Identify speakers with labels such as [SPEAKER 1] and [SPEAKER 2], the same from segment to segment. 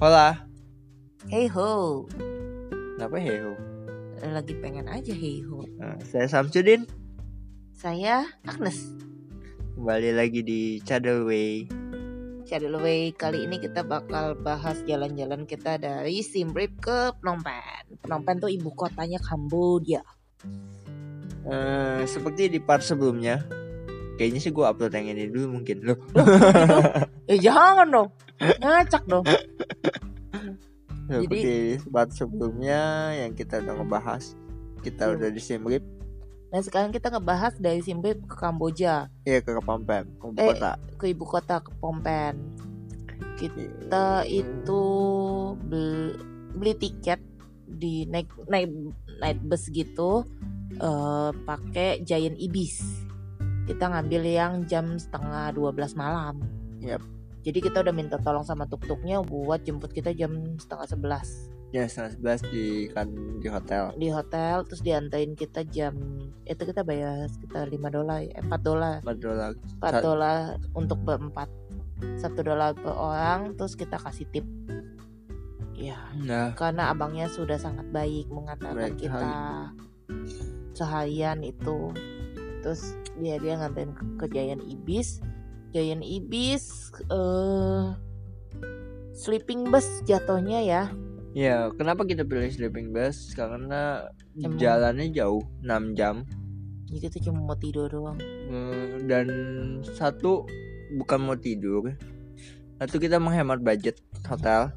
[SPEAKER 1] Hola.
[SPEAKER 2] Hey ho,
[SPEAKER 1] Kenapa heho?
[SPEAKER 2] lagi pengen aja hey ho.
[SPEAKER 1] Nah, saya Samsudin.
[SPEAKER 2] Saya Agnes.
[SPEAKER 1] Kembali lagi di Way
[SPEAKER 2] Shadowway kali ini kita bakal bahas jalan-jalan kita dari Siem Reap ke Phnom Penh. Phnom Penh tuh ibu kotanya Kamboja.
[SPEAKER 1] Eh, seperti di part sebelumnya. Kayaknya sih gue upload yang ini dulu mungkin. Loh,
[SPEAKER 2] Eh jangan dong, ngacak dong.
[SPEAKER 1] seperti di part sebelumnya yang kita udah ngebahas. Kita
[SPEAKER 2] Iya.
[SPEAKER 1] udah di Simrip.
[SPEAKER 2] Nah sekarang kita ngebahas dari Siem Reap ke Kamboja,
[SPEAKER 1] Ya ke Kepampem, ke
[SPEAKER 2] Eh,
[SPEAKER 1] kota.
[SPEAKER 2] ke ibu kota ke Phnom Penh. Kita itu bel- beli tiket di naik naik naik bus gitu eh pakai Giant Ibis. Kita ngambil yang jam setengah 12 malam.
[SPEAKER 1] Yap.
[SPEAKER 2] Jadi kita udah minta tolong sama tuk-tuknya buat jemput kita jam setengah 11
[SPEAKER 1] Ya, setengah sebelas di kan di hotel.
[SPEAKER 2] di hotel terus dianterin kita jam itu kita bayar sekitar 5 dolar, eh, 4 dolar.
[SPEAKER 1] Padahal
[SPEAKER 2] 4 dolar untuk berempat. 1 dolar per orang terus kita kasih tip. Ya,
[SPEAKER 1] Nah,
[SPEAKER 2] karena abangnya sudah sangat baik mengatakan
[SPEAKER 1] Baik,
[SPEAKER 2] kita seharian itu terus dia dia nganterin ke, ke Giant Ibis Giant Ibis eh sleeping bus jatuhnya ya
[SPEAKER 1] ya kenapa kita pilih sleeping bus? Karena
[SPEAKER 2] Emang.
[SPEAKER 1] jalannya jauh, 6 jam.
[SPEAKER 2] jadi kita cuma mau tidur doang
[SPEAKER 1] Eh, dan satu bukan mau tidur satu kita menghemat budget hotel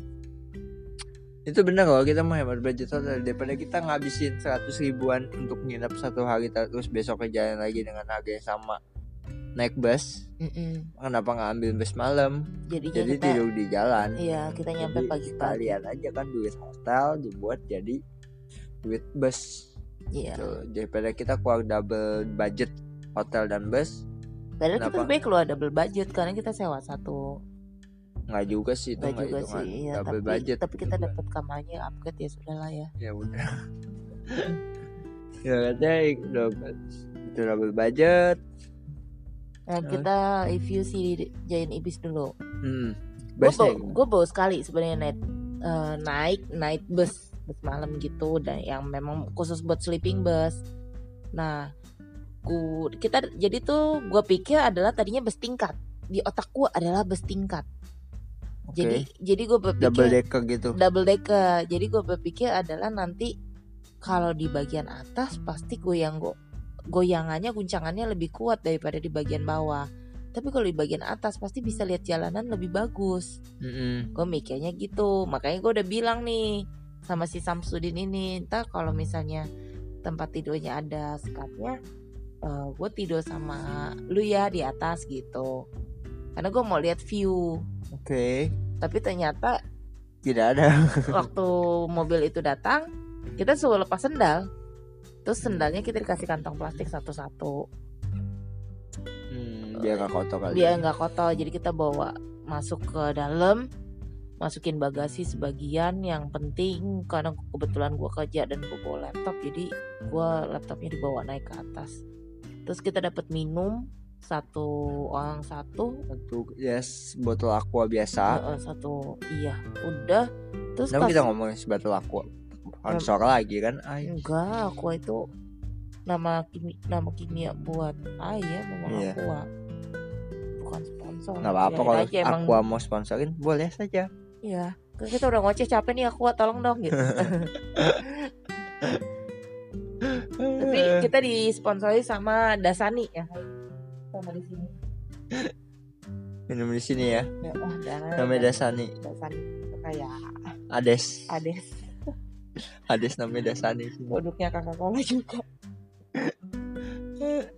[SPEAKER 1] itu benar kalau kita menghemat budget hotel daripada kita ngabisin 100 ribuan untuk nginep satu hari terus besok ke jalan lagi dengan harga yang sama naik bus
[SPEAKER 2] Mm-mm.
[SPEAKER 1] kenapa nggak ambil bus malam
[SPEAKER 2] jadinya
[SPEAKER 1] jadi
[SPEAKER 2] kita
[SPEAKER 1] tidur di jalan
[SPEAKER 2] iya kita nyampe
[SPEAKER 1] Jadi
[SPEAKER 2] pagi-pagi
[SPEAKER 1] sekalian aja kan duit hotel dibuat jadi duit bus
[SPEAKER 2] iya
[SPEAKER 1] Tuh, daripada kita keluar double budget hotel dan bus
[SPEAKER 2] padahal kita
[SPEAKER 1] Kenapa?
[SPEAKER 2] sebenarnya keluar double budget karena kita sewa satu
[SPEAKER 1] nggak juga sih itu
[SPEAKER 2] nggak
[SPEAKER 1] nggak
[SPEAKER 2] juga
[SPEAKER 1] hitungan
[SPEAKER 2] sih iya
[SPEAKER 1] double
[SPEAKER 2] tapi
[SPEAKER 1] budget
[SPEAKER 2] tapi kita dapat kamarnya upgrade ya sudahlah ya
[SPEAKER 1] ya udah ya katanya double itu double budget
[SPEAKER 2] nah,
[SPEAKER 1] Terus?
[SPEAKER 2] kita review si Giant Ibis dulu
[SPEAKER 1] hmm
[SPEAKER 2] gue
[SPEAKER 1] best
[SPEAKER 2] bau, gua bau sekali sebenarnya naik eh, naik naik bus bus malam gitu dan yang memang khusus buat sleeping bus nah gua kita jadi tuh gue pikir adalah tadinya bus tingkat di otak gue adalah bus tingkat jadi jadi gue berpikir
[SPEAKER 1] double decker gitu
[SPEAKER 2] double decker jadi gue berpikir adalah nanti kalau di bagian atas pasti goyang go goyangannya guncangannya lebih kuat daripada di bagian bawah tapi kalau di bagian atas pasti bisa lihat jalanan lebih bagus
[SPEAKER 1] Mm-mm.
[SPEAKER 2] gue mikirnya gitu makanya gue udah bilang nih sama si Samsudin ini ntar kalau misalnya tempat tidurnya ada sekatnya gue tidur sama lu ya di atas gitu karena gue mau lihat view
[SPEAKER 1] oke
[SPEAKER 2] tapi ternyata
[SPEAKER 1] tidak ada
[SPEAKER 2] waktu mobil itu datang kita suruh lepas sendal terus sendalnya kita dikasih kantong plastik satu-satu
[SPEAKER 1] hmm, biar nggak kotor kali
[SPEAKER 2] biar nggak kotor jadi kita bawa masuk ke dalam masukin bagasi sebagian yang penting karena kebetulan gua kerja dan gue bawa laptop jadi gua laptopnya dibawa naik ke atas terus kita dapat minum satu orang satu
[SPEAKER 1] satu yes botol aqua biasa
[SPEAKER 2] eh, eh, satu iya udah terus
[SPEAKER 1] Ah. kenapa
[SPEAKER 2] pas-
[SPEAKER 1] kita ngomongin sebotol aqua sponsor lagi kan ayo
[SPEAKER 2] Enggak, aqua itu nama kimia, nama kimia buat ayah mama
[SPEAKER 1] Iya.
[SPEAKER 2] aqua. Bukan sponsor.
[SPEAKER 1] nggak apa-apa
[SPEAKER 2] Biarin
[SPEAKER 1] kalau
[SPEAKER 2] aja emang
[SPEAKER 1] aqua mau sponsorin boleh saja
[SPEAKER 2] Iya. Kan Kita udah ngoceh capek nih aqua tolong dong gitu. Tapi
[SPEAKER 1] Eh,
[SPEAKER 2] kita disponsori sama Dasani ya. Sama di sini.
[SPEAKER 1] minum di sini ya
[SPEAKER 2] Ya, oh, Dan-
[SPEAKER 1] namanya Dasani
[SPEAKER 2] Dasani itu kayak
[SPEAKER 1] Ades
[SPEAKER 2] Ades
[SPEAKER 1] Ades namanya Dasani
[SPEAKER 2] produknya kakak Cola juga.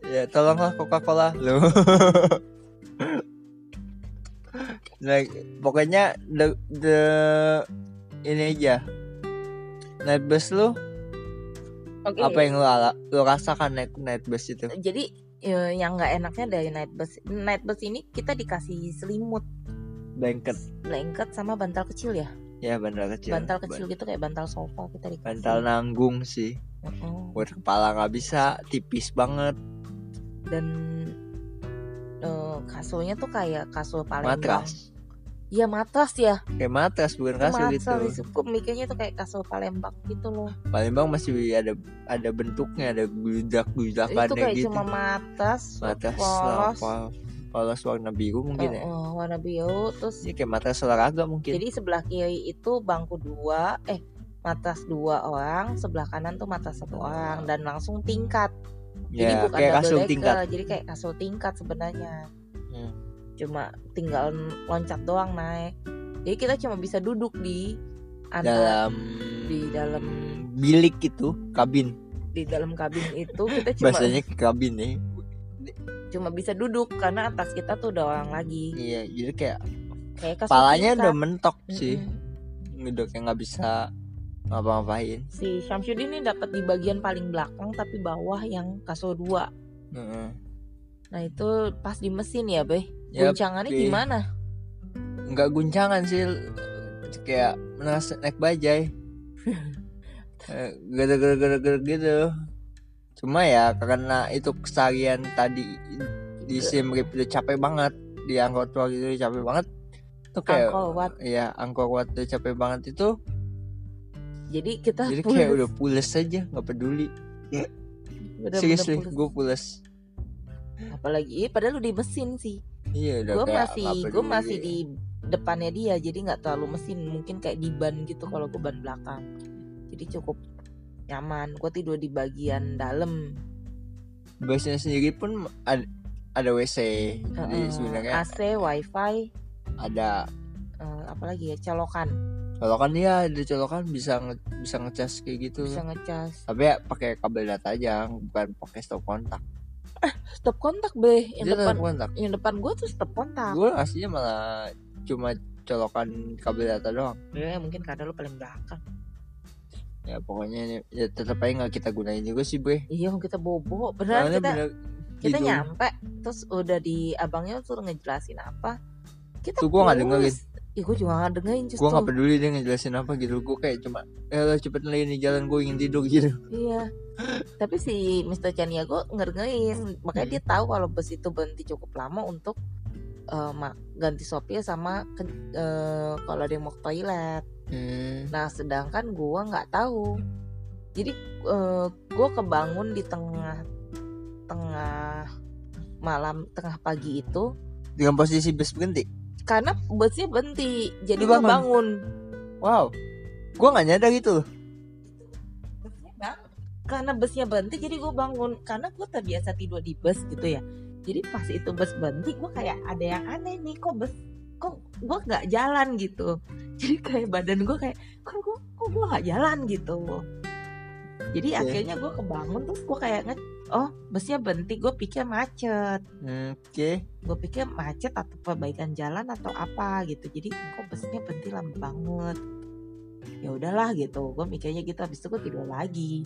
[SPEAKER 1] ya tolonglah Coca-Cola lo nah, pokoknya the, the ini aja night bus lu
[SPEAKER 2] Oke.
[SPEAKER 1] apa yang lu ala, lu rasakan naik night bus itu
[SPEAKER 2] Jadi eh, yang nggak enaknya dari night bus night bus ini kita dikasih selimut
[SPEAKER 1] blanket
[SPEAKER 2] blanket sama bantal kecil ya
[SPEAKER 1] ya bantal kecil
[SPEAKER 2] bantal kecil gitu kayak bantal sofa kita dikasih
[SPEAKER 1] bantal nanggung sih
[SPEAKER 2] Mm-mm.
[SPEAKER 1] buat kepala nggak bisa tipis banget
[SPEAKER 2] dan eh, kasurnya tuh kayak kasur Palembang
[SPEAKER 1] matras
[SPEAKER 2] ya matras ya
[SPEAKER 1] Kayak matras bukan kasur gitu.
[SPEAKER 2] matras
[SPEAKER 1] itu.
[SPEAKER 2] itu gua mikirnya tuh kayak kasur Palembang gitu loh
[SPEAKER 1] Palembang masih ada ada bentuknya, ada gludak-gludakan
[SPEAKER 2] itu kayak
[SPEAKER 1] gitu.
[SPEAKER 2] cuma matras
[SPEAKER 1] Matras
[SPEAKER 2] polos
[SPEAKER 1] lah, polos warna biru mungkin ya.
[SPEAKER 2] eh, eh, warna biru terus
[SPEAKER 1] Ini kayak matras olahraga mungkin.
[SPEAKER 2] Jadi sebelah kiri itu bangku dua, eh matras dua orang, sebelah kanan tuh matras satu orang dan langsung tingkat. Jadi
[SPEAKER 1] ya,
[SPEAKER 2] bukan
[SPEAKER 1] kayak
[SPEAKER 2] double
[SPEAKER 1] kasur
[SPEAKER 2] decker,
[SPEAKER 1] tingkat.
[SPEAKER 2] jadi kayak kasur tingkat sebenarnya.
[SPEAKER 1] Hmm.
[SPEAKER 2] Cuma tinggal loncat doang naik. Jadi kita cuma bisa duduk di antara
[SPEAKER 1] dalam
[SPEAKER 2] di dalam
[SPEAKER 1] bilik itu, kabin.
[SPEAKER 2] di dalam kabin itu kita cuma
[SPEAKER 1] Bahasanya kabin ya. nih.
[SPEAKER 2] cuma bisa duduk karena atas kita tuh udah orang lagi.
[SPEAKER 1] Iya, jadi kayak
[SPEAKER 2] Kayak kasur
[SPEAKER 1] palanya
[SPEAKER 2] tingkat.
[SPEAKER 1] udah mentok sih.
[SPEAKER 2] Mm-mm.
[SPEAKER 1] Udah kayak nggak bisa ngapa-ngapain.
[SPEAKER 2] Si Syamsuddin ini dapat di bagian paling belakang tapi bawah yang kasur dua.
[SPEAKER 1] Heeh.
[SPEAKER 2] Nah itu pas di mesin ya Beh
[SPEAKER 1] Ya,
[SPEAKER 2] Guncangannya
[SPEAKER 1] Beh.
[SPEAKER 2] gimana?
[SPEAKER 1] nggak guncangan sih kayak merasa naik bajai Eh, gara-gara-gara-gara gitu cuma ya karena itu kesarian tadi di
[SPEAKER 2] Iya.
[SPEAKER 1] simrip itu capek banget di angkot waktu itu capek banget tuh kayak
[SPEAKER 2] Angkor Wat.
[SPEAKER 1] ya angkor wat tuh capek banget itu
[SPEAKER 2] Jadi kita
[SPEAKER 1] jadi
[SPEAKER 2] Ah, pules.
[SPEAKER 1] kayak udah pules aja nggak peduli
[SPEAKER 2] Udah-
[SPEAKER 1] serius
[SPEAKER 2] udah
[SPEAKER 1] nih
[SPEAKER 2] pules.
[SPEAKER 1] gue pules
[SPEAKER 2] Apalagi eh, padahal lu di mesin sih
[SPEAKER 1] iya udah
[SPEAKER 2] Gue
[SPEAKER 1] kayak ya.
[SPEAKER 2] masih
[SPEAKER 1] nggak
[SPEAKER 2] gue
[SPEAKER 1] peduli.
[SPEAKER 2] masih di depannya dia Jadi nggak terlalu mesin Mungkin kayak di ban gitu kalau gue ban belakang Jadi cukup nyaman Gue tidur di bagian dalam
[SPEAKER 1] busnya sendiri pun ada, ada wc jadi
[SPEAKER 2] Heeh,
[SPEAKER 1] sebenarnya
[SPEAKER 2] AC, wifi
[SPEAKER 1] ada
[SPEAKER 2] eh, Apalagi ya colokan
[SPEAKER 1] colokan dia ada colokan bisa nge- bisa ngecas kayak gitu
[SPEAKER 2] Bisa ngecas
[SPEAKER 1] tapi ya pakai kabel data aja bukan pakai stop kontak
[SPEAKER 2] Stop kontak Beh Yang
[SPEAKER 1] dia
[SPEAKER 2] depan Ah.
[SPEAKER 1] tetap kontak
[SPEAKER 2] yang depan gue tuh stop kontak
[SPEAKER 1] gue aslinya malah cuma colokan kabel data doang
[SPEAKER 2] Ya mungkin karena lu paling belakang
[SPEAKER 1] ya pokoknya ini- ya tetap aja nggak kita gunain juga sih bre
[SPEAKER 2] Iya kita bobo Beneran
[SPEAKER 1] soalnya gitu.
[SPEAKER 2] kita
[SPEAKER 1] bener
[SPEAKER 2] kita
[SPEAKER 1] tidur.
[SPEAKER 2] nyampe terus udah di abangnya tuh ngejelasin apa kita
[SPEAKER 1] Tuh, gua nggak
[SPEAKER 2] dengerin Ih gue juga nggak dengerin
[SPEAKER 1] gue
[SPEAKER 2] justru
[SPEAKER 1] nggak peduli dia ngejelasin apa gitu gue kayak cuma eh lah cepet nih ini jalan gue ingin tidur gitu
[SPEAKER 2] iya tapi si Mr. Chaniago nggak dengerin makanya
[SPEAKER 1] Hmm.
[SPEAKER 2] dia tahu kalau bus itu berhenti cukup lama untuk eh, ma- ganti sopir sama ke- eh, kalau ada yang mau ke toilet
[SPEAKER 1] hmm.
[SPEAKER 2] nah sedangkan gua nggak tahu jadi eh, gua kebangun di tengah tengah malam tengah pagi itu
[SPEAKER 1] dengan posisi bus berhenti
[SPEAKER 2] karena busnya berhenti jadi
[SPEAKER 1] Lu bangun?
[SPEAKER 2] gua bangun
[SPEAKER 1] wow gue nggak nyadar gitu loh
[SPEAKER 2] karena busnya berhenti jadi gue bangun karena gue terbiasa tidur di bus gitu ya jadi pas itu bus berhenti gue kayak ada yang aneh nih kok bus kok gue nggak jalan gitu jadi kayak badan gue kayak kok gue kok gue nggak jalan gitu jadi
[SPEAKER 1] Oke.
[SPEAKER 2] akhirnya gue kebangun terus gue kayak nge oh busnya berhenti gue pikir macet
[SPEAKER 1] Hmm, oke
[SPEAKER 2] gue pikir macet atau perbaikan jalan atau apa gitu jadi kok busnya berhenti lama banget ya udahlah gitu gue mikirnya gitu habis itu gue tidur lagi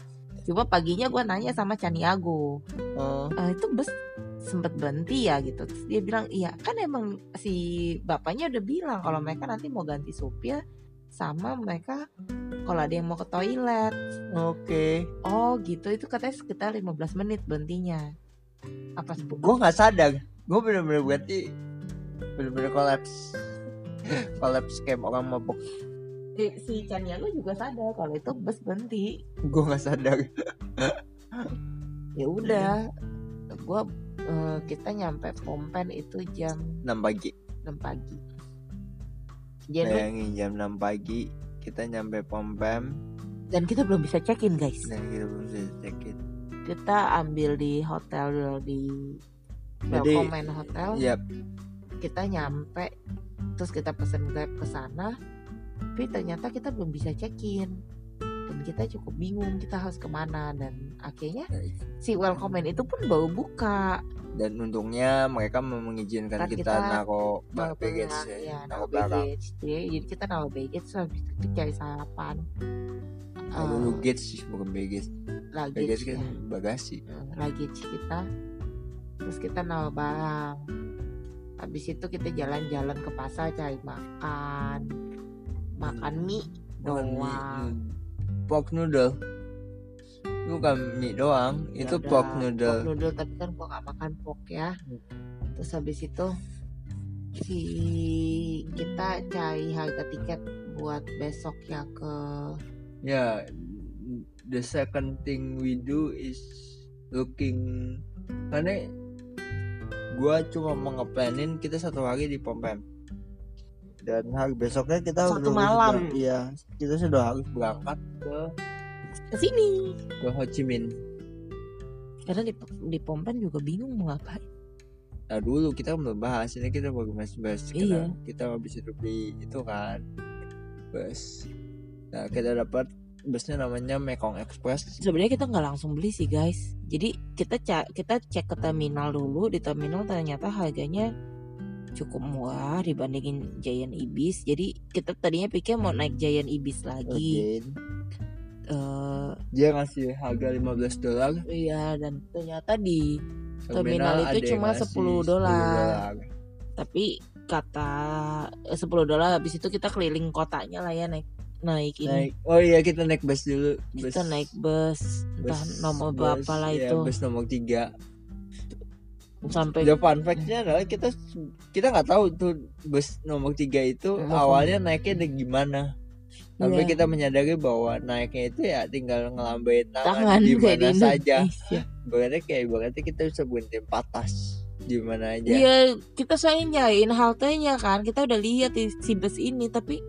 [SPEAKER 2] coba paginya gue nanya sama Caniago
[SPEAKER 1] Oh,
[SPEAKER 2] "Eh, itu bus sempet berhenti ya gitu Terus dia bilang iya kan emang si bapaknya udah bilang kalau mereka nanti mau ganti supir sama mereka kalau ada yang mau ke toilet
[SPEAKER 1] oke
[SPEAKER 2] oh gitu itu katanya sekitar 15 menit berhentinya apa
[SPEAKER 1] gue nggak sadar gue bener-bener berarti bener-bener kolaps kolaps scam orang mabok
[SPEAKER 2] si, si Caniago juga sadar kalau itu bus berhenti
[SPEAKER 1] gue nggak sadar
[SPEAKER 2] ya udah gua eh, kita nyampe Pompen itu jam
[SPEAKER 1] 6 pagi
[SPEAKER 2] 6 pagi jadi
[SPEAKER 1] bayangin jam 6 pagi kita nyampe pom pom
[SPEAKER 2] dan kita belum bisa check in guys
[SPEAKER 1] nah kita belum bisa check in
[SPEAKER 2] kita ambil di hotel di
[SPEAKER 1] Jadi,
[SPEAKER 2] Welcome Hotel
[SPEAKER 1] yap
[SPEAKER 2] kita nyampe terus kita pesen grab ke sana tapi ternyata kita belum bisa check in dan kita cukup bingung kita harus kemana dan akhirnya si welcome itu pun baru buka
[SPEAKER 1] dan untungnya mereka mau mengizinkan
[SPEAKER 2] Kan
[SPEAKER 1] kita,
[SPEAKER 2] kita
[SPEAKER 1] naro
[SPEAKER 2] baru
[SPEAKER 1] baggage
[SPEAKER 2] pulang, ya,
[SPEAKER 1] ya,
[SPEAKER 2] naruh
[SPEAKER 1] naro barang
[SPEAKER 2] baggage. Jadi, jadi kita naruh baggage terus habis itu cari sarapan.
[SPEAKER 1] Naro
[SPEAKER 2] Eh,
[SPEAKER 1] luggage sih bukan baggage
[SPEAKER 2] luggage
[SPEAKER 1] baggage
[SPEAKER 2] ya.
[SPEAKER 1] kan bagasi
[SPEAKER 2] Eh, luggage kita. Terus kita naruh barang. Habis itu kita jalan-jalan ke pasar cari makan. Makan mie
[SPEAKER 1] Bukan mie,
[SPEAKER 2] doang.
[SPEAKER 1] nu- pork noodle bukan mie doang
[SPEAKER 2] Ya
[SPEAKER 1] itu
[SPEAKER 2] udah,
[SPEAKER 1] pork noodle
[SPEAKER 2] Pork noodle tapi kan gua gak makan pork ya. Terus habis itu si kita cari harga tiket buat besok ya ke
[SPEAKER 1] Yeah, Ya, the second thing we do is looking karena gua cuma mau ngeplanin kita satu hari di Phnom Penh. Dan hari besoknya kita udah-
[SPEAKER 2] Satu malam.
[SPEAKER 1] sudah- Iya, kita sudah harus berangkat ke
[SPEAKER 2] ke sini
[SPEAKER 1] ke Ho Chi Minh.
[SPEAKER 2] karena di di Phnom Penh juga bingung mau ngapain
[SPEAKER 1] Nah dulu kita belum bahas ini kita baru bahas bahas
[SPEAKER 2] Iya.
[SPEAKER 1] kita habis hidup di itu kan bus. Nah kita dapat busnya namanya Mekong Express.
[SPEAKER 2] sebenarnya kita nggak langsung beli sih guys jadi kita cek kita cek ke terminal dulu di terminal ternyata harganya cukup murah dibandingin Giant Ibis jadi kita tadinya pikir mau naik Giant Ibis lagi
[SPEAKER 1] Again.
[SPEAKER 2] Eh,
[SPEAKER 1] Dia ngasih harga 15 dolar.
[SPEAKER 2] iya dan ternyata di Terminal itu
[SPEAKER 1] ada yang
[SPEAKER 2] cuma
[SPEAKER 1] ngasih
[SPEAKER 2] 10 dolar. tapi kata eh, 10 dolar habis itu kita keliling kotanya lah ya naik naik ini
[SPEAKER 1] Naik. Oh iya kita naik bus dulu. Bus,
[SPEAKER 2] kita naik bus entah
[SPEAKER 1] bus-
[SPEAKER 2] nomor
[SPEAKER 1] bus,
[SPEAKER 2] berapa lah
[SPEAKER 1] ya,
[SPEAKER 2] itu
[SPEAKER 1] bus nomor 3
[SPEAKER 2] sampai
[SPEAKER 1] Ya fun fact-nya adalah kita kita nggak tahu tuh bus nomor 3 itu
[SPEAKER 2] Hmm.
[SPEAKER 1] awalnya naiknya dari gimana. Sampai
[SPEAKER 2] Iya.
[SPEAKER 1] kita menyadari bahwa naiknya itu ya tinggal ngelambai
[SPEAKER 2] tangan
[SPEAKER 1] tangan, di
[SPEAKER 2] kayak di
[SPEAKER 1] mana saja.
[SPEAKER 2] Indonesia.
[SPEAKER 1] Berarti kayak berarti kita bisa buntin patas di mana aja.
[SPEAKER 2] Iya, kita soalnya nyariin haltenya kan. Kita udah lihat di- si bus ini tapi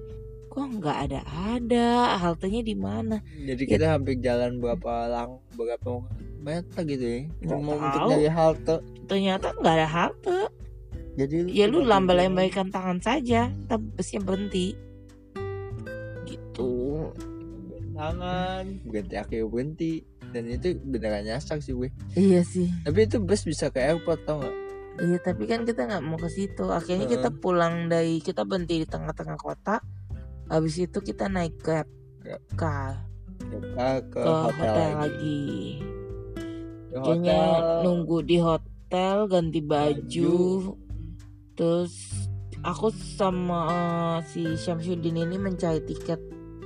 [SPEAKER 2] kok nggak ada ada haltenya di mana?
[SPEAKER 1] Jadi kita hampir jalan berapa lang berapa meter gitu ya.
[SPEAKER 2] Nggak
[SPEAKER 1] Cuma untuk
[SPEAKER 2] tahu.
[SPEAKER 1] nyari halte.
[SPEAKER 2] Ternyata nggak ada halte.
[SPEAKER 1] Jadi
[SPEAKER 2] Ya
[SPEAKER 1] cuma
[SPEAKER 2] lu
[SPEAKER 1] bingung.
[SPEAKER 2] lamba-lambaikan tangan saja, tapi busnya berhenti. Gitu.
[SPEAKER 1] tangan berhenti akhirnya berhenti dan itu beneran nyasar sih gue
[SPEAKER 2] Iya sih.
[SPEAKER 1] tapi itu bus bisa ke airport tau gak
[SPEAKER 2] Iya, tapi kan kita nggak mau ke situ. Akhirnya
[SPEAKER 1] Heeh.
[SPEAKER 2] kita pulang dari kita berhenti di tengah-tengah kota. Habis itu kita naik grab
[SPEAKER 1] Grab.
[SPEAKER 2] car
[SPEAKER 1] kita ke,
[SPEAKER 2] ke
[SPEAKER 1] hotel,
[SPEAKER 2] hotel,
[SPEAKER 1] lagi
[SPEAKER 2] lagi.
[SPEAKER 1] Ke
[SPEAKER 2] Kayaknya
[SPEAKER 1] hotel
[SPEAKER 2] nunggu di hotel ganti baju
[SPEAKER 1] Baju.
[SPEAKER 2] terus aku sama eh, si Syamsuddin ini mencari tiket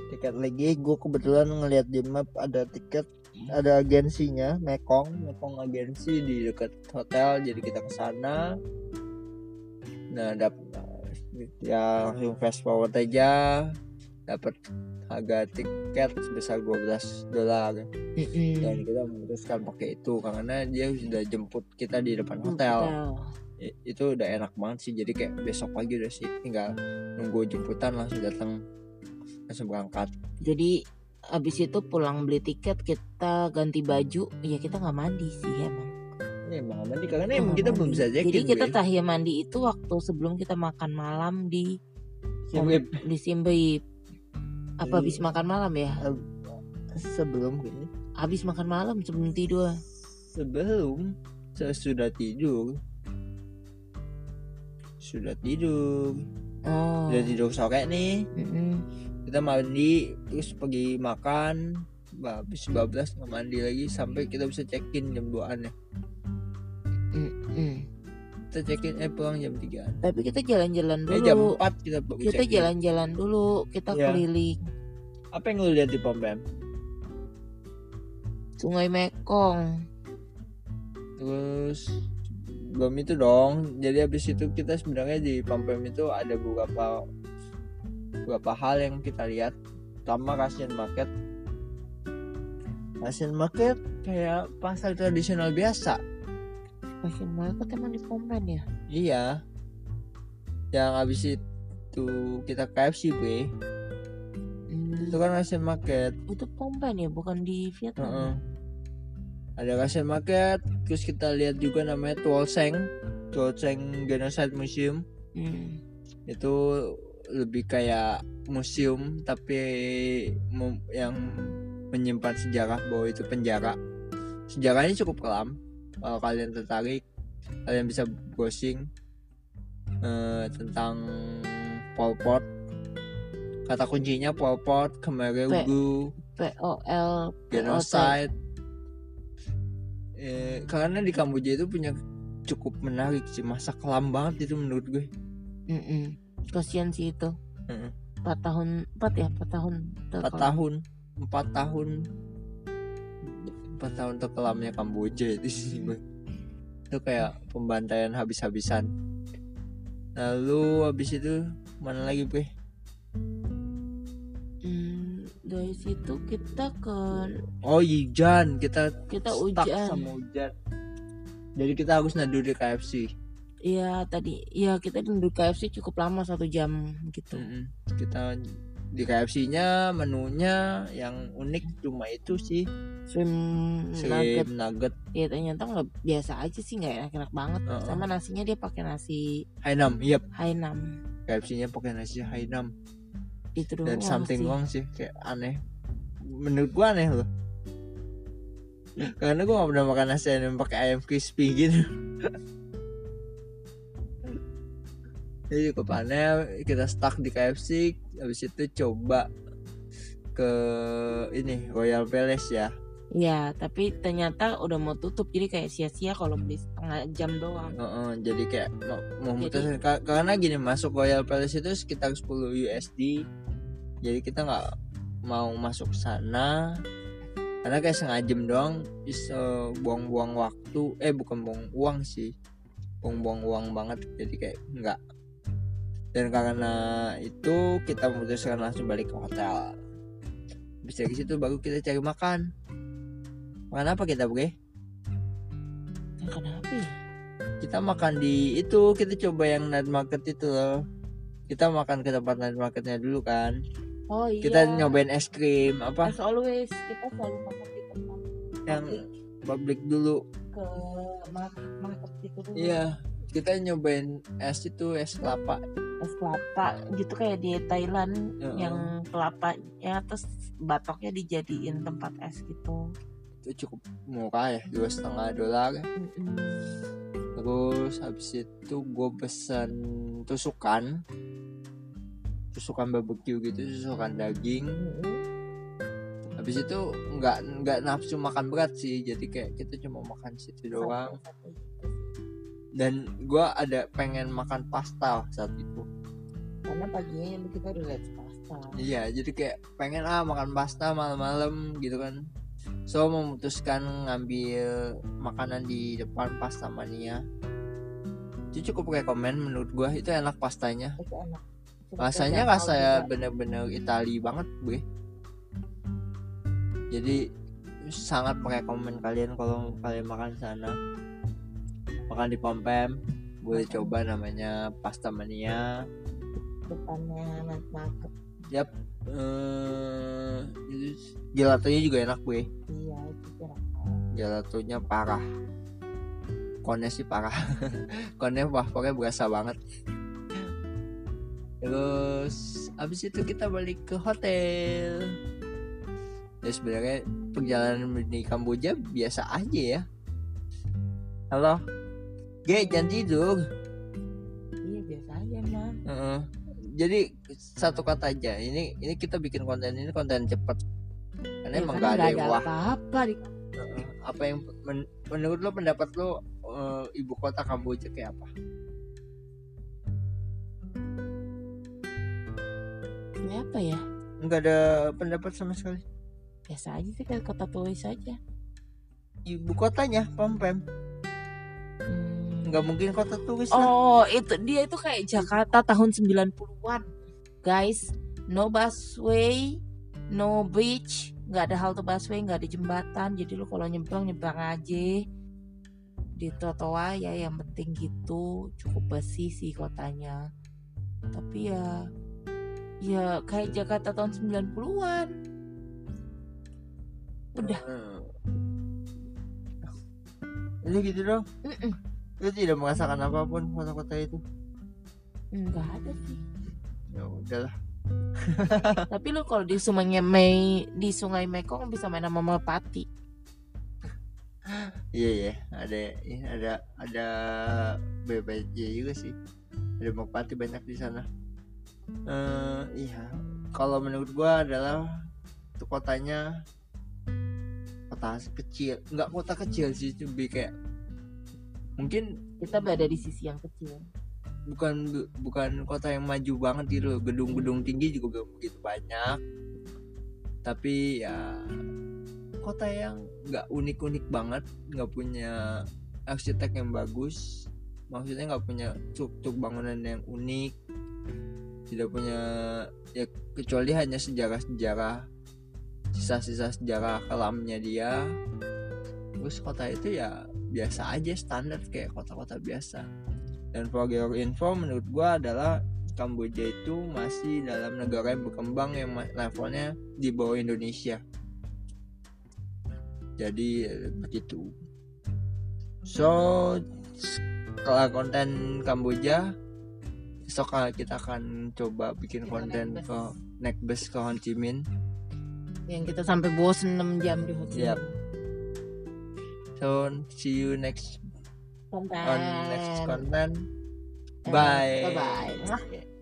[SPEAKER 1] tiket lagi gue kebetulan ngeliat di map ada tiket ada agensinya Mekong Mekong agensi di dekat hotel jadi kita ke sana nah dap ya langsung fast forward aja dapat harga tiket sebesar 12 dolar dan kita memutuskan pakai itu karena dia sudah jemput kita di depan hotel I- itu udah enak banget sih jadi kayak besok pagi udah sih tinggal nunggu jemputan langsung datang langsung berangkat
[SPEAKER 2] Jadi abis itu pulang beli tiket kita ganti baju ya kita nggak mandi sih emang.
[SPEAKER 1] ini emang aman nih karena
[SPEAKER 2] Nggak
[SPEAKER 1] emang kita
[SPEAKER 2] mandi.
[SPEAKER 1] belum bisa
[SPEAKER 2] Jadi
[SPEAKER 1] cekin
[SPEAKER 2] kita terakhir mandi itu waktu sebelum kita makan malam di di Simbeip.
[SPEAKER 1] Jadi-
[SPEAKER 2] Apa habis makan malam ya?
[SPEAKER 1] sebelum gini
[SPEAKER 2] Habis makan malam sebelum tidur.
[SPEAKER 1] sebelum saya sudah tidur sudah tidur
[SPEAKER 2] Oh.
[SPEAKER 1] sudah tidur sore nih
[SPEAKER 2] Mm-mm.
[SPEAKER 1] kita mandi terus pergi makan habis 12 nggak mandi lagi sampai kita bisa check in jam 2an ya
[SPEAKER 2] Mm.
[SPEAKER 1] kita check in eh pulang jam 3an
[SPEAKER 2] Tapi kita jalan-jalan
[SPEAKER 1] eh jam
[SPEAKER 2] dulu.
[SPEAKER 1] 4 kita baru
[SPEAKER 2] kita
[SPEAKER 1] check in.
[SPEAKER 2] jalan-jalan dulu, kita
[SPEAKER 1] Iya.
[SPEAKER 2] keliling
[SPEAKER 1] apa yang lu lihat di Phnom Penh
[SPEAKER 2] Sungai Mekong.
[SPEAKER 1] terus belum itu dong jadi habis itu kita sebenarnya di Phnom Penh itu ada beberapa beberapa hal yang kita lihat pertama Asian Market Asian Market kayak pasar tradisional biasa
[SPEAKER 2] Fashion market emang di Phnom Penh ya?
[SPEAKER 1] Iya. Yang abis itu kita KFC bre
[SPEAKER 2] Hmm,
[SPEAKER 1] Itu kan Asian Market.
[SPEAKER 2] Itu Phnom Penh ya, bukan di Vietnam.
[SPEAKER 1] Heeh. Ada Asian Market. Terus kita lihat juga namanya Tuolseng. Tuolseng Genocide Museum.
[SPEAKER 2] Hmm.
[SPEAKER 1] Itu lebih kayak museum tapi mem- yang menyimpan sejarah bahwa itu penjara. Sejarahnya cukup kelam. Kalau kalian tertarik, kalian bisa browsing eh, tentang Pol Pot. Kata kuncinya Pol Pot, Khmer
[SPEAKER 2] Pe-
[SPEAKER 1] Rouge,
[SPEAKER 2] POL
[SPEAKER 1] genocide. Eh, karena di Kamboja itu punya cukup menarik sih masa kelam banget itu menurut gue.
[SPEAKER 2] Mm-mm. Kasian sih itu.
[SPEAKER 1] Heeh.
[SPEAKER 2] 4 tahun, 4 ya, 4 tahun.
[SPEAKER 1] 4 tahun, 4 tahun 4 tahun ya terkelamnya Kamboja itu sih. Bang. Itu kayak pembantaian habis-habisan. lalu habis itu mana lagi bre
[SPEAKER 2] Hmm, dari situ kita ke
[SPEAKER 1] oh hujan kita
[SPEAKER 2] kita
[SPEAKER 1] stuck
[SPEAKER 2] ujian.
[SPEAKER 1] sama hujan jadi kita harus nadu di KFC
[SPEAKER 2] Iya tadi, ya kita di KFC cukup lama satu jam gitu.
[SPEAKER 1] Mm-mm. kita di KFC nya menunya yang unik cuma itu sih
[SPEAKER 2] Swim
[SPEAKER 1] si
[SPEAKER 2] nugget,
[SPEAKER 1] nugget
[SPEAKER 2] ya ternyata nggak biasa aja sih nggak enak-enak banget.
[SPEAKER 1] Heeh.
[SPEAKER 2] Sama nasinya dia pakai nasi
[SPEAKER 1] Hainam yep
[SPEAKER 2] Hainam
[SPEAKER 1] KFC nya pakai nasi Hainam
[SPEAKER 2] itu gitu doang.
[SPEAKER 1] dan something
[SPEAKER 2] sih.
[SPEAKER 1] wrong sih kayak aneh menurut gua aneh loh karena gua gak pernah makan nasi ayam pakai ayam crispy gitu jadi cukup aneh kita stuck di KFC habis itu coba ke ini Royal Palace ya
[SPEAKER 2] Ya, tapi ternyata udah mau tutup jadi kayak sia-sia kalau
[SPEAKER 1] Hmm.
[SPEAKER 2] beli setengah jam doang.
[SPEAKER 1] Heeh, jadi kayak mau, mau mutusin. Ka- karena gini masuk Royal Palace itu sekitar 10 USD jadi kita nggak mau masuk sana karena kayak sengaja jam doang bisa buang-buang waktu eh bukan buang uang sih buang-buang uang banget jadi kayak nggak dan karena itu kita memutuskan langsung balik ke hotel bisa dari situ baru kita cari makan makan apa kita Bre?
[SPEAKER 2] Nah, kenapa ya?
[SPEAKER 1] kita makan di itu kita coba yang night market itu loh kita makan ke tempat night marketnya dulu kan
[SPEAKER 2] Oh iya.
[SPEAKER 1] kita nyobain es krim apa
[SPEAKER 2] As always kita selalu makan di tempat
[SPEAKER 1] yang
[SPEAKER 2] public
[SPEAKER 1] public dulu
[SPEAKER 2] ke market market gitu dulu.
[SPEAKER 1] iya kita nyobain es itu es kelapa
[SPEAKER 2] Es kelapa gitu kayak di Thailand
[SPEAKER 1] Heeh.
[SPEAKER 2] yang kelapa ya terus batoknya dijadiin tempat es gitu.
[SPEAKER 1] itu cukup murah ya dua setengah dolar
[SPEAKER 2] Mm-mm.
[SPEAKER 1] terus habis itu gue pesan tusukan tusukan barbecue gitu tusukan daging
[SPEAKER 2] Mm-mm.
[SPEAKER 1] habis itu nggak nggak nafsu makan berat sih jadi kayak kita cuma makan situ doang
[SPEAKER 2] Satu-satu. gitu
[SPEAKER 1] dan gua ada pengen makan pasta saat itu
[SPEAKER 2] Karena paginya kita udah lihat pasta.
[SPEAKER 1] iya jadi kayak pengen ah makan pasta malam-malam gitu kan so memutuskan ngambil makanan di depan pasta mania itu cukup rekomen menurut gua itu enak pastanya
[SPEAKER 2] Itu enak. Cuma
[SPEAKER 1] rasanya
[SPEAKER 2] kayak tahu
[SPEAKER 1] rasa ya.
[SPEAKER 2] juga.
[SPEAKER 1] bener-bener Itali banget gue jadi sangat merekomen kalian kalau kalian makan di sana makan di Pompem boleh
[SPEAKER 2] Makan.
[SPEAKER 1] coba namanya pasta mania
[SPEAKER 2] depannya night market.
[SPEAKER 1] eh
[SPEAKER 2] gitu.
[SPEAKER 1] gelatonya juga enak gue
[SPEAKER 2] Iya, itu kira.
[SPEAKER 1] gelatonya parah konnya sih parah konnya wafelnya berasa banget terus abis itu kita balik ke hotel ya sebenarnya perjalanan di Kamboja biasa aja ya halo Ge jangan tidur
[SPEAKER 2] Iya, biasa aja, Mang.
[SPEAKER 1] Heeh. Jadi satu kata aja. Ini ini kita bikin konten ini konten cepat. Karena
[SPEAKER 2] Ya,
[SPEAKER 1] emang
[SPEAKER 2] karena
[SPEAKER 1] gak ada
[SPEAKER 2] nggak
[SPEAKER 1] yang
[SPEAKER 2] ada
[SPEAKER 1] wah.
[SPEAKER 2] apa-apa di
[SPEAKER 1] Heeh. Apa yang men- menurut lo pendapat lo eh, ibu kota Kamboja kayak apa?
[SPEAKER 2] ini apa ya
[SPEAKER 1] Enggak ada pendapat sama sekali.
[SPEAKER 2] biasa aja sih kayak kota tulis aja
[SPEAKER 1] Ibu kotanya Phnom Penh.
[SPEAKER 2] Hmm.
[SPEAKER 1] Enggak mungkin kota turis lah.
[SPEAKER 2] oh itu dia itu kayak Jakarta tahun 90-an guys no busway no beach nggak ada halte busway nggak ada jembatan jadi lu kalau nyebrang nyebrang aja di trotoar ya yang penting gitu cukup bersih sih kotanya tapi ya ya kayak Jakarta tahun 90-an udah.
[SPEAKER 1] Heeh. Udah gitu dong.
[SPEAKER 2] Mm-mm.
[SPEAKER 1] Lo tidak merasakan apapun kota-kota itu.
[SPEAKER 2] nggak ada sih
[SPEAKER 1] Ya udahlah.
[SPEAKER 2] Tapi lu kalau di sungainya Mei di Sungai Mekong bisa main sama merpati.
[SPEAKER 1] Iya iya ada iya, ada ada BPJ juga sih ada merpati banyak di sana. Eh iya kalau menurut gua adalah itu kotanya kota kecil nggak kota kecil sih lebih kayak mungkin
[SPEAKER 2] Kita berada di sisi yang kecil.
[SPEAKER 1] bukan bukan kota yang maju banget gitu loh gedung-gedung tinggi juga belum begitu banyak tapi ya kota yang nggak unik-unik banget nggak punya arsitek yang bagus maksudnya nggak punya struktur bangunan yang unik tidak punya ya kecuali hanya sejarah-sejarah sisa-sisa sejarah kelamnya dia terus kota itu ya biasa aja standar kayak kota-kota biasa dan for your info menurut gua adalah Kamboja itu masih dalam negara yang berkembang yang ma- levelnya di bawah Indonesia jadi eh, begitu so kalau konten Kamboja besok eh, kita akan coba bikin
[SPEAKER 2] Kita
[SPEAKER 1] konten
[SPEAKER 2] naik
[SPEAKER 1] ke
[SPEAKER 2] bus.
[SPEAKER 1] naik bus ke Ho Chi Minh
[SPEAKER 2] yang kita sampai bosen 6 jam di hotel.
[SPEAKER 1] Yap. so see you next
[SPEAKER 2] Konten.
[SPEAKER 1] on next content
[SPEAKER 2] Bye
[SPEAKER 1] bye
[SPEAKER 2] bye.
[SPEAKER 1] Yeah.